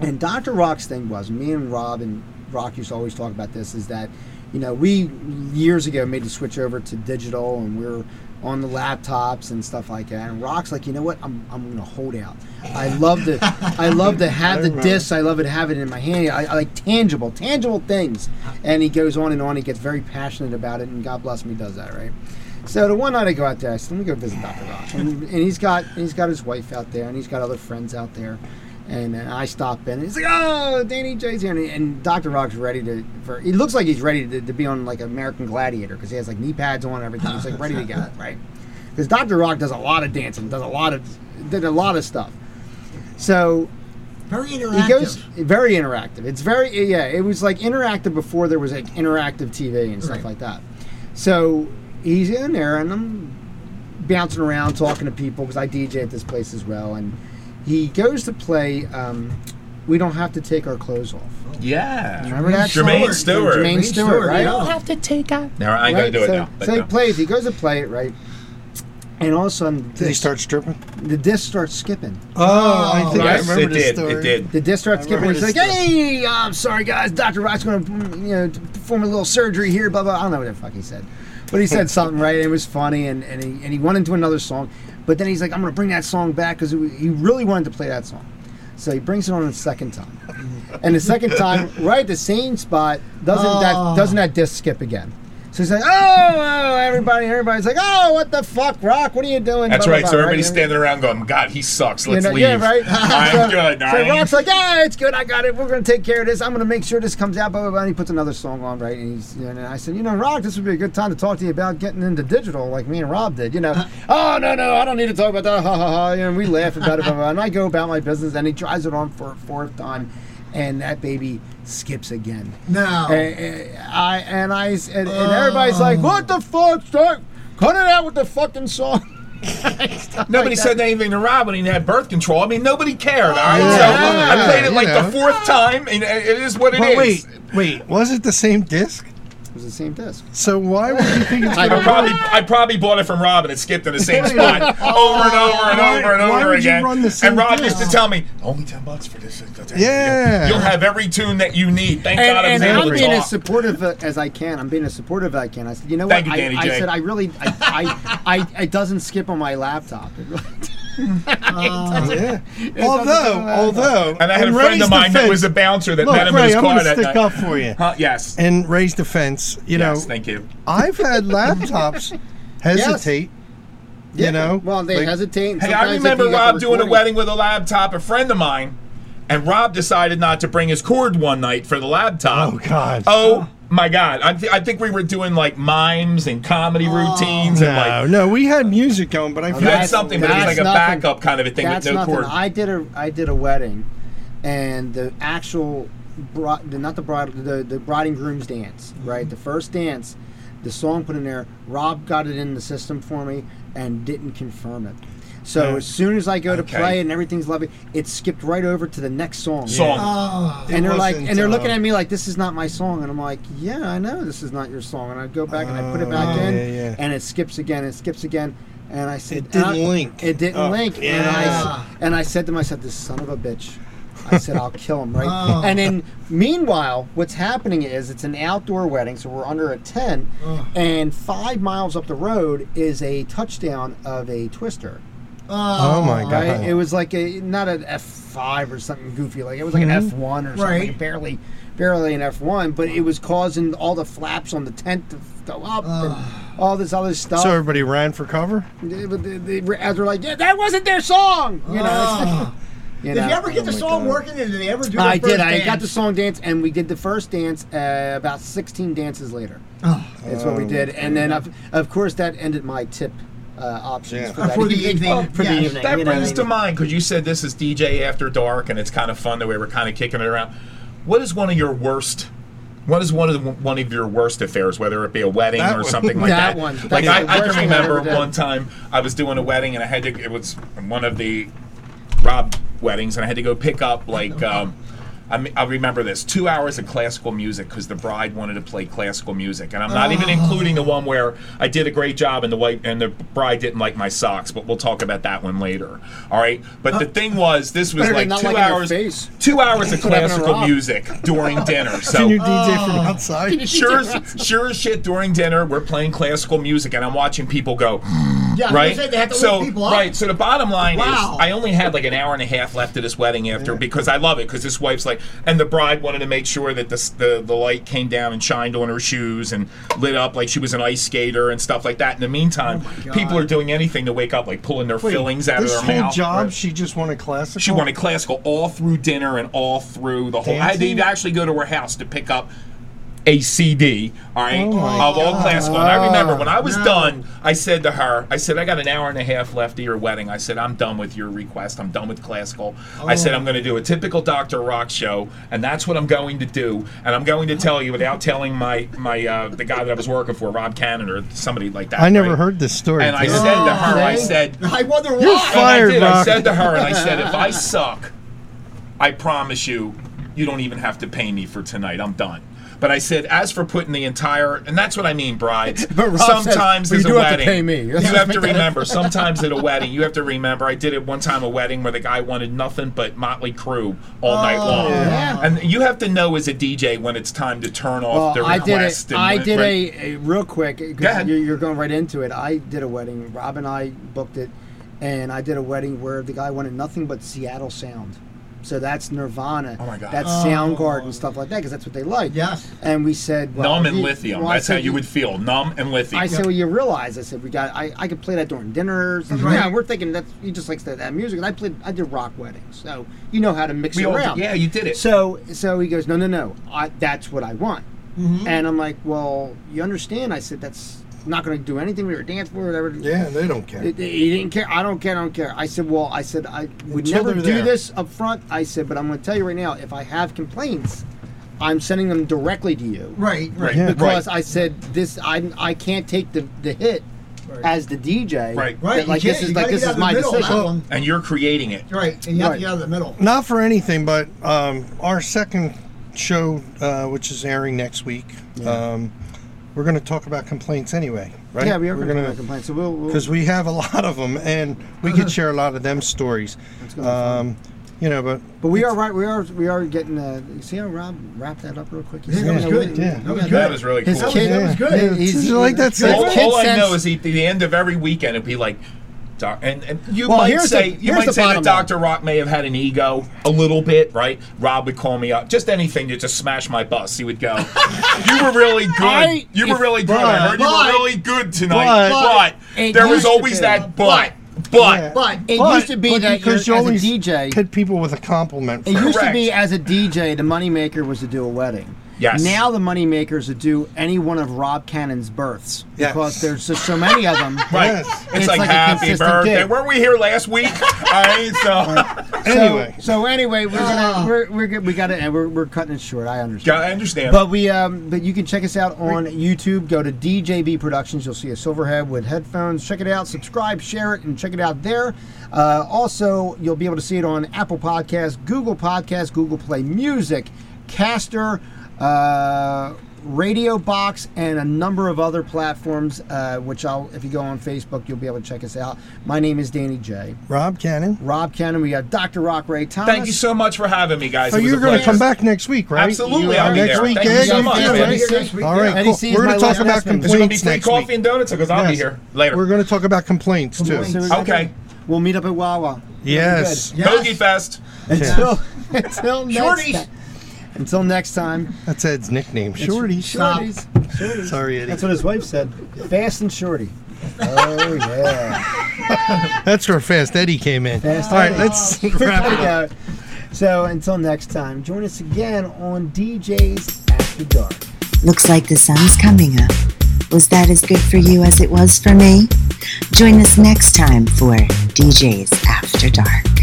Speaker 2: And Dr. Rock's thing was me and Rob and Rock used to always talk about this is that, you know, we years ago made the switch over to digital and we were on the laptops and stuff like that. And Rock's like, you know what? I'm, I'm gonna hold out. I love to I love to have the
Speaker 3: remember.
Speaker 2: discs. I love it to have it in my hand. I, I like tangible, tangible things. And he goes on and on. He gets very passionate about it. And God bless him, he does that right. So the one night I go out there, I said, "Let me go visit Doctor Rock," and, and he's got he's got his wife out there, and he's got other friends out there, and, uh I stop in, and he's like, "Oh, Danny J's here," and, and Doctor Rock's ready to for he looks like he's ready to, to be on like American Gladiator because he has like knee pads on and everything. He's like ready to go, right? Because Doctor Rock does a lot of dancing, does a lot of did a lot of stuff. So
Speaker 4: Very interactive.
Speaker 2: he goes very interactive. It's very yeah. It was like interactive before there was like interactive TV and stuff
Speaker 4: Right.
Speaker 2: like that. So he's in there and I'm bouncing around talking to people because I DJ at this place as well. And he goes to play. Um, we don't have to take our clothes off.
Speaker 5: Yeah.
Speaker 2: Remember that? song?
Speaker 5: Jermaine Stewart.
Speaker 2: Jermaine Stewart, right?
Speaker 4: yeah.
Speaker 5: Now I ain't
Speaker 2: Right?
Speaker 5: gonna do
Speaker 2: so,
Speaker 5: it now. but
Speaker 2: so he
Speaker 5: no.
Speaker 2: plays. He goes to play it right. And all of a sudden,
Speaker 3: Did he
Speaker 2: the,
Speaker 3: start stripping?
Speaker 2: the disc starts skipping.
Speaker 3: Oh, I think
Speaker 5: Yes,
Speaker 3: I remember
Speaker 5: it
Speaker 3: this
Speaker 5: did.
Speaker 3: story.
Speaker 5: It did.
Speaker 2: The disc starts skipping.
Speaker 3: remember
Speaker 2: He's like,
Speaker 3: this stuff.
Speaker 2: "Hey, I'm sorry, guys. Doctor Rock's going to, you know, perform a little surgery here." Blah blah. I don't know what the fuck he said, but he said something right. and It was funny, and and he, and he went into another song, but then he's like, "I'm going to bring that song back because he really wanted to play that song." So he brings it on a second time, and the second time, right at the same spot, doesn't
Speaker 4: Oh.
Speaker 2: that doesn't that disc skip again? So he's like, "Oh, oh, everybody, everybody's like, oh, what the fuck, Rock? What are you doing?"
Speaker 5: That's
Speaker 2: Blah, blah,
Speaker 5: right.
Speaker 2: blah,
Speaker 5: So everybody's
Speaker 2: And-
Speaker 5: standing around going, "God, he sucks. Let's
Speaker 2: you know,
Speaker 5: leave."
Speaker 2: Yeah, right.
Speaker 5: I'm
Speaker 2: so,
Speaker 5: good. I
Speaker 2: So
Speaker 5: ain't-
Speaker 2: Rock's like, yeah, it's good. I got it. We're gonna take care of this. I'm gonna make sure this comes out. Blah blah blah. And he puts another song on, right? And he's and I said, you know, Rock, this would be a good time to talk to you about getting into digital, like me and Rob did. You know, oh no no, I don't need to talk about that. Ha ha ha. And we laugh about it. Blah, blah. And I go about my business, and he tries it on for a fourth time, and that baby skips again.
Speaker 4: Now.
Speaker 5: Oh.
Speaker 2: And, I and I and, and everybody's like, what the fuck? Start, cut it out with the fucking song.
Speaker 5: Nobody said anything to Rob when he had birth control. I mean, nobody cared. All right,
Speaker 2: Yeah.
Speaker 5: so I played
Speaker 3: Yeah,
Speaker 5: it like
Speaker 3: you
Speaker 5: the
Speaker 3: know.
Speaker 5: fourth time, and it it is what it is.
Speaker 3: But wait, wait, was it the same disc?
Speaker 2: It was the same disc.
Speaker 3: So why would you think it's
Speaker 2: I
Speaker 5: I
Speaker 2: don't
Speaker 5: probably I probably bought it from Rob and it skipped in the same spot over and over and
Speaker 3: Why-
Speaker 5: over and
Speaker 3: why
Speaker 5: over
Speaker 3: would you
Speaker 5: again.
Speaker 3: run the
Speaker 5: and
Speaker 3: same
Speaker 5: Rob
Speaker 3: disc?
Speaker 5: used to tell me, "Only ten bucks for this. You'll-
Speaker 3: Yeah.
Speaker 5: you'll have every tune that you need." Thank
Speaker 2: and,
Speaker 5: God I was
Speaker 2: and
Speaker 5: able
Speaker 2: I'm
Speaker 5: to
Speaker 2: being as
Speaker 5: talk.
Speaker 2: supportive uh, as I can. I'm being as supportive as I can. I said, you know
Speaker 5: Thank
Speaker 2: what?
Speaker 5: you,
Speaker 2: I,
Speaker 5: Danny
Speaker 2: I
Speaker 5: J.
Speaker 2: said, I really, I, I, I, it doesn't skip on my laptop. It really-
Speaker 3: yeah. Although, although,
Speaker 5: and I had
Speaker 3: in
Speaker 5: a friend
Speaker 3: Ray's
Speaker 5: of mine that
Speaker 3: defense-
Speaker 5: was a bouncer that
Speaker 3: Look,
Speaker 5: met him in
Speaker 3: Ray,
Speaker 5: his
Speaker 3: I'm
Speaker 5: car
Speaker 3: gonna
Speaker 5: that
Speaker 3: stick
Speaker 5: night.
Speaker 3: up for you.
Speaker 5: Huh, yes.
Speaker 3: In Ray's defense, you know,
Speaker 5: yes, thank you.
Speaker 3: I've had laptops hesitate. You know,
Speaker 2: well, they
Speaker 3: like-
Speaker 2: hesitate. and
Speaker 5: Hey, I
Speaker 2: sometimes they
Speaker 5: remember
Speaker 2: can get the
Speaker 5: Rob doing a
Speaker 2: recording.
Speaker 5: wedding with a laptop. A friend of mine And Rob decided not to bring his cord one night for the laptop.
Speaker 3: Oh, God.
Speaker 5: Oh my God! I, th- I think we were doing like mimes and comedy
Speaker 2: Oh,
Speaker 5: routines and like
Speaker 3: No, no, we had music going, but I
Speaker 5: You
Speaker 3: feel oh,
Speaker 5: had
Speaker 2: That's-
Speaker 5: something, but it was
Speaker 2: that's
Speaker 5: like a
Speaker 2: nothing.
Speaker 5: backup kind of a thing with
Speaker 2: That's
Speaker 5: no
Speaker 2: nothing.
Speaker 5: cord.
Speaker 2: I did a I did a wedding, and the actual bride, the, not the bride, the the bride and groom's dance,
Speaker 5: Mm-hmm.
Speaker 2: right? The first dance, the song put in there. Rob got it in the system for me and didn't confirm it. So
Speaker 3: Yeah.
Speaker 2: as soon as I go to
Speaker 5: Okay.
Speaker 2: play it and everything's lovely, it skipped right over to the next song.
Speaker 5: Song.
Speaker 4: Oh,
Speaker 2: And they're like,
Speaker 3: wasn't,
Speaker 2: and they're looking
Speaker 3: um,
Speaker 2: at me like, this is not my song. And I'm like, yeah, I know this is not your song. And I go back and I put it back
Speaker 3: Oh,
Speaker 2: in,
Speaker 3: yeah, yeah.
Speaker 2: and it skips again, it skips again. And I said,
Speaker 3: It didn't
Speaker 2: and I-
Speaker 3: link.
Speaker 2: It didn't
Speaker 3: Oh,
Speaker 2: link. And I, s- and I said to myself, this son of a bitch. I said, I'll kill him, right?
Speaker 4: Oh.
Speaker 2: And then, meanwhile, what's happening is it's an outdoor wedding, so we're under a tent,
Speaker 4: Oh.
Speaker 2: and five miles up the road is a touchdown of a twister.
Speaker 3: Oh, my God.
Speaker 2: Right?
Speaker 4: Uh-huh.
Speaker 2: It was like a not an F five or something goofy. Like it was like an F one or something,
Speaker 4: Mm-hmm. Right.
Speaker 2: barely, barely an F one. But it was causing all the flaps on the tent to go up and all this other stuff.
Speaker 3: so everybody ran for cover.
Speaker 5: Oh.
Speaker 2: They- they- they were- as we're like, yeah, that wasn't their song. You know.
Speaker 4: Oh.
Speaker 2: You
Speaker 4: Did
Speaker 2: know?
Speaker 4: you ever get
Speaker 3: Oh
Speaker 4: the
Speaker 3: my
Speaker 4: song
Speaker 3: God.
Speaker 4: working? Did they ever do
Speaker 2: I
Speaker 4: that first
Speaker 2: did. I got
Speaker 4: dance?
Speaker 2: the song dance, and we did the first dance uh, about 16 dances later.
Speaker 4: Oh.
Speaker 2: That's what we did, and then of, of course that ended my tip uh, options
Speaker 3: Yeah.
Speaker 2: for,
Speaker 4: Uh,
Speaker 2: that
Speaker 4: for the evening,
Speaker 2: for the
Speaker 4: yes.
Speaker 2: evening.
Speaker 5: That
Speaker 2: you know what I
Speaker 5: brings
Speaker 2: mean?
Speaker 5: to mind because you said this is DJ After Dark, and it's kind of fun the way we're kind of kicking it around. What is one of your worst? What is one of the, one of your worst affairs, whether it be a wedding
Speaker 3: That
Speaker 5: or
Speaker 3: one.
Speaker 5: something like that?
Speaker 2: That one.
Speaker 5: Like
Speaker 2: That's
Speaker 5: I,
Speaker 2: the
Speaker 5: I
Speaker 2: worst
Speaker 5: can
Speaker 2: thing I've
Speaker 5: remember
Speaker 2: ever done.
Speaker 5: one time I was doing a wedding, and I had to. It was one of the Rob weddings, and I had to go pick up like. Um, I, mean, I remember this two hours of classical music because the bride wanted to play classical music, and I'm not
Speaker 2: Oh.
Speaker 5: even including the one where I did a great job and the white and the bride didn't like my socks, but we'll talk about that one later. All right, but the thing was, this was
Speaker 2: Uh, Better
Speaker 5: like
Speaker 2: than not
Speaker 5: two
Speaker 2: liking her
Speaker 5: hours,
Speaker 2: face.
Speaker 5: two hours of
Speaker 2: What happened to
Speaker 5: classical
Speaker 2: Rob?
Speaker 5: music during dinner. So
Speaker 3: Can you DJ from outside?
Speaker 5: sure, as, sure as shit during dinner, we're playing classical music, and I'm watching people go.
Speaker 4: Yeah,
Speaker 5: Right.
Speaker 4: They said they had to
Speaker 5: so
Speaker 4: wake people up.
Speaker 5: right. So the bottom line
Speaker 4: Wow.
Speaker 5: is, I only had like an hour and a half left of this wedding after because I love it because this wife's like, and the bride wanted to make sure that the, s- the the light came down and shined on her shoes and lit up like she was an ice skater and stuff like that. In the meantime,
Speaker 4: Oh God.
Speaker 5: people are doing anything to wake up, like pulling their fillings out of
Speaker 3: This
Speaker 5: their
Speaker 3: whole
Speaker 5: mouth.
Speaker 3: job, she just wanted classical.
Speaker 5: She wanted classical all through dinner and all through the whole. I had to
Speaker 3: Dancing?
Speaker 5: even actually go to her house to pick up a CD, all right,
Speaker 3: Oh my
Speaker 5: of all classical. And I remember when I was
Speaker 4: No.
Speaker 5: done, I said to her, I said, I got an hour and a half left of your wedding. I said, I'm done with your request. I'm done with classical. I
Speaker 3: Oh.
Speaker 5: said, I'm going to do a typical Dr. Rock show, and that's what I'm going to do. And I'm going to tell you without telling my my uh, the guy that I was working for, Rob Cannon, or somebody like that.
Speaker 3: I never
Speaker 5: right?
Speaker 3: heard this story.
Speaker 5: And I
Speaker 3: dude.
Speaker 5: said to her, I
Speaker 2: Oh, Okay.
Speaker 5: said,
Speaker 4: I wonder why.
Speaker 5: and I
Speaker 3: Fired,
Speaker 5: did. I
Speaker 3: Rock.
Speaker 5: said to her, and I said, if I suck, I promise you, you don't even have to pay me for tonight. I'm done. But I said, as for putting the entire, and that's what I mean, brides.
Speaker 2: But Rob says,
Speaker 5: sometimes
Speaker 2: "But
Speaker 5: as
Speaker 2: you
Speaker 5: a
Speaker 2: do have to
Speaker 5: wedding,
Speaker 2: pay me."
Speaker 5: you
Speaker 2: Let's
Speaker 5: have
Speaker 2: make
Speaker 5: to
Speaker 2: that-
Speaker 5: remember. sometimes at a wedding, you have to remember. I did it one time, a wedding where the guy wanted nothing but Motley Crue all night long,
Speaker 2: Oh, yeah.
Speaker 5: and you have to know as a DJ when it's time to turn
Speaker 2: Well,
Speaker 5: off the
Speaker 2: Oh, I did
Speaker 5: request.
Speaker 2: it.
Speaker 5: and
Speaker 2: I
Speaker 5: when-
Speaker 2: did
Speaker 5: right?
Speaker 2: a, a real quick.
Speaker 5: Go ahead.
Speaker 2: Because you're, you're going right into it. I did a wedding. Rob and I booked it, and I did a wedding where the guy wanted nothing but Seattle sound. So that's Nirvana.
Speaker 5: Oh my God.
Speaker 2: That's Soundgarden stuff like that because that's what they like.
Speaker 4: Yes.
Speaker 2: And we said well,
Speaker 5: numb and
Speaker 2: you-
Speaker 5: lithium.
Speaker 2: well, I
Speaker 5: That's how
Speaker 2: said,
Speaker 5: you would feel. Numb and lithium.
Speaker 2: I said, well, you realize. I said, we got. I, I could play that during dinner. Or something.
Speaker 4: Right.
Speaker 2: Yeah, we're thinking that he just likes that, that music. And I played. I did rock weddings, so you know how to mix
Speaker 5: We
Speaker 2: it
Speaker 5: all did-
Speaker 2: around.
Speaker 5: yeah, you did it.
Speaker 2: So so he goes, no, no, no. I, that's what I want. And I'm like, well, you understand? I said that's not going to do anything. We were dancing, we were whatever.
Speaker 3: "Yeah, they don't care."
Speaker 2: It- it- He didn't care. I don't care. I don't care. I said, well, I said I would
Speaker 3: Until
Speaker 2: never
Speaker 3: they're
Speaker 2: do
Speaker 3: there.
Speaker 2: this up front. I said, but I'm going to tell you right now, if I have complaints, I'm sending them directly to you
Speaker 4: Right. Right.
Speaker 3: Yeah.
Speaker 2: because
Speaker 5: Right.
Speaker 2: I said this. I I can't take the, the hit
Speaker 4: Right.
Speaker 2: as the DJ.
Speaker 5: Right.
Speaker 2: that,
Speaker 4: Right. you
Speaker 2: Like this
Speaker 4: can't-
Speaker 2: is
Speaker 4: you
Speaker 2: like
Speaker 4: gotta
Speaker 2: this is
Speaker 4: get out of the
Speaker 2: my
Speaker 4: middle,
Speaker 2: decision.
Speaker 4: that one.
Speaker 5: and you're creating it.
Speaker 4: Right. And you have
Speaker 2: Right.
Speaker 4: to get out of the middle.
Speaker 3: Not for anything, but um, our second show, uh, which is airing next week, um, we're going to talk about complaints anyway, right?
Speaker 2: Yeah, we are
Speaker 3: We're
Speaker 2: going
Speaker 3: gonna-
Speaker 2: to complain. So we'll, we'll
Speaker 3: because we have a lot of them, and we could share a lot of them stories.
Speaker 2: Uh-huh. gonna be fun.
Speaker 3: Um, you know, but
Speaker 2: But we are right. We are we are getting. Uh, you see how Rob wrapped that up real quick.
Speaker 4: Yeah, that was good.
Speaker 3: yeah.
Speaker 4: That was good.
Speaker 5: That was really
Speaker 2: His
Speaker 5: cool.
Speaker 2: kid
Speaker 4: That was good.
Speaker 2: Yeah,
Speaker 3: Did you like that
Speaker 2: his
Speaker 5: all
Speaker 3: sentence?
Speaker 2: kid
Speaker 5: all I
Speaker 2: sense-
Speaker 5: know is at the end of every weekend, it'd be like, Doc, and, and you
Speaker 2: Well,
Speaker 5: might
Speaker 2: here's
Speaker 5: say
Speaker 2: the-
Speaker 5: you
Speaker 2: here's
Speaker 5: might
Speaker 2: the
Speaker 5: say that
Speaker 2: bottom line.
Speaker 5: Doctor Rock may have had an ego a little bit, right? Rob would call me up, just anything to just smash my bus. He would go, "You were really good.
Speaker 2: I-
Speaker 5: you were really good. I heard you
Speaker 4: but-
Speaker 5: were really good tonight,
Speaker 3: but-
Speaker 5: but,
Speaker 2: It
Speaker 5: there was
Speaker 2: used to
Speaker 5: always
Speaker 2: be.
Speaker 5: that but."
Speaker 4: But-
Speaker 5: But
Speaker 4: But
Speaker 2: It
Speaker 3: But-
Speaker 2: used to be
Speaker 3: but
Speaker 2: that
Speaker 3: because
Speaker 2: you're-
Speaker 3: you
Speaker 2: as a
Speaker 3: always
Speaker 2: DJ
Speaker 3: hit people with a compliment.
Speaker 2: It used to
Speaker 5: Correct.
Speaker 2: be as a DJ, the moneymaker was to do a wedding.
Speaker 5: Yes.
Speaker 2: Now the moneymakers to do any one of Rob Cannon's births
Speaker 3: Yes.
Speaker 2: because there's just so many of them.
Speaker 5: Right.
Speaker 3: Yes.
Speaker 5: It's,
Speaker 2: It's
Speaker 5: like,
Speaker 2: like a
Speaker 5: happy
Speaker 2: consistent
Speaker 5: birthday.
Speaker 2: gig.
Speaker 5: Weren't we here last week? All right, so
Speaker 2: So-
Speaker 3: anyway,
Speaker 2: So, anyway, we're gonna
Speaker 4: Ah.
Speaker 2: we're, we're go- we got to we're, we're cutting it short. I understand.
Speaker 5: gotta understand.
Speaker 2: But we um but you can check us out on YouTube. Go to DJB Productions. You'll see a silverhead with headphones. Check it out. Subscribe, share it, and check it out there. Uh, also, you'll be able to see it on Apple Podcasts, Google Podcasts, Google Play Music, Caster. Uh, Radio Box and a number of other platforms, uh, which I'll, if you go on Facebook, you'll be able to check us out. My name is Danny J.
Speaker 3: Rob Cannon.
Speaker 2: Rob Cannon, we got Dr. Rock Ray Thomas.
Speaker 5: Thank you so much for having me, guys.
Speaker 3: So
Speaker 5: It
Speaker 3: Oh,
Speaker 5: was
Speaker 3: you're
Speaker 5: a
Speaker 3: going to
Speaker 5: pleasure.
Speaker 3: come back next week, right?
Speaker 5: Absolutely,
Speaker 2: You
Speaker 5: I'll
Speaker 2: are
Speaker 5: be
Speaker 3: next
Speaker 5: there.
Speaker 3: week,
Speaker 5: Thank you
Speaker 3: Ed.
Speaker 5: so much,
Speaker 2: Yeah,
Speaker 5: man.
Speaker 2: right.
Speaker 5: Is
Speaker 4: next week,
Speaker 3: All
Speaker 4: yeah.
Speaker 3: right,
Speaker 2: Eddie
Speaker 3: cool.
Speaker 2: C is
Speaker 3: We're
Speaker 2: my
Speaker 3: going to talk
Speaker 2: last
Speaker 3: about
Speaker 2: husband.
Speaker 5: there gonna be
Speaker 3: complaints
Speaker 5: free
Speaker 3: next
Speaker 5: coffee
Speaker 3: week.
Speaker 5: and donuts? Because I'll be
Speaker 3: Yes.
Speaker 5: here later.
Speaker 3: We're going to talk about complaints too.
Speaker 4: Complaints.
Speaker 2: So-
Speaker 5: okay.
Speaker 2: We'll meet up at Wawa.
Speaker 3: Yes.
Speaker 4: Yes.
Speaker 5: Hoagie Fest.
Speaker 2: Until, until next
Speaker 4: Shorties.
Speaker 2: time. Until next time.
Speaker 3: That's Ed's nickname, Shorty.
Speaker 4: Stop.
Speaker 2: Shorties.
Speaker 3: Sorry, Eddie.
Speaker 2: That's what his wife said. Fast and shorty. Oh yeah.
Speaker 3: That's where Fast Eddie came in.
Speaker 2: Fast
Speaker 3: All right,
Speaker 2: Eddie.
Speaker 3: let's
Speaker 2: There
Speaker 3: wrap
Speaker 2: we
Speaker 3: it up.
Speaker 2: go. So until next time, join us again on DJs After Dark.
Speaker 1: Looks like the sun's coming up. Was that as good for you as it was for me? Join us next time for DJs After Dark.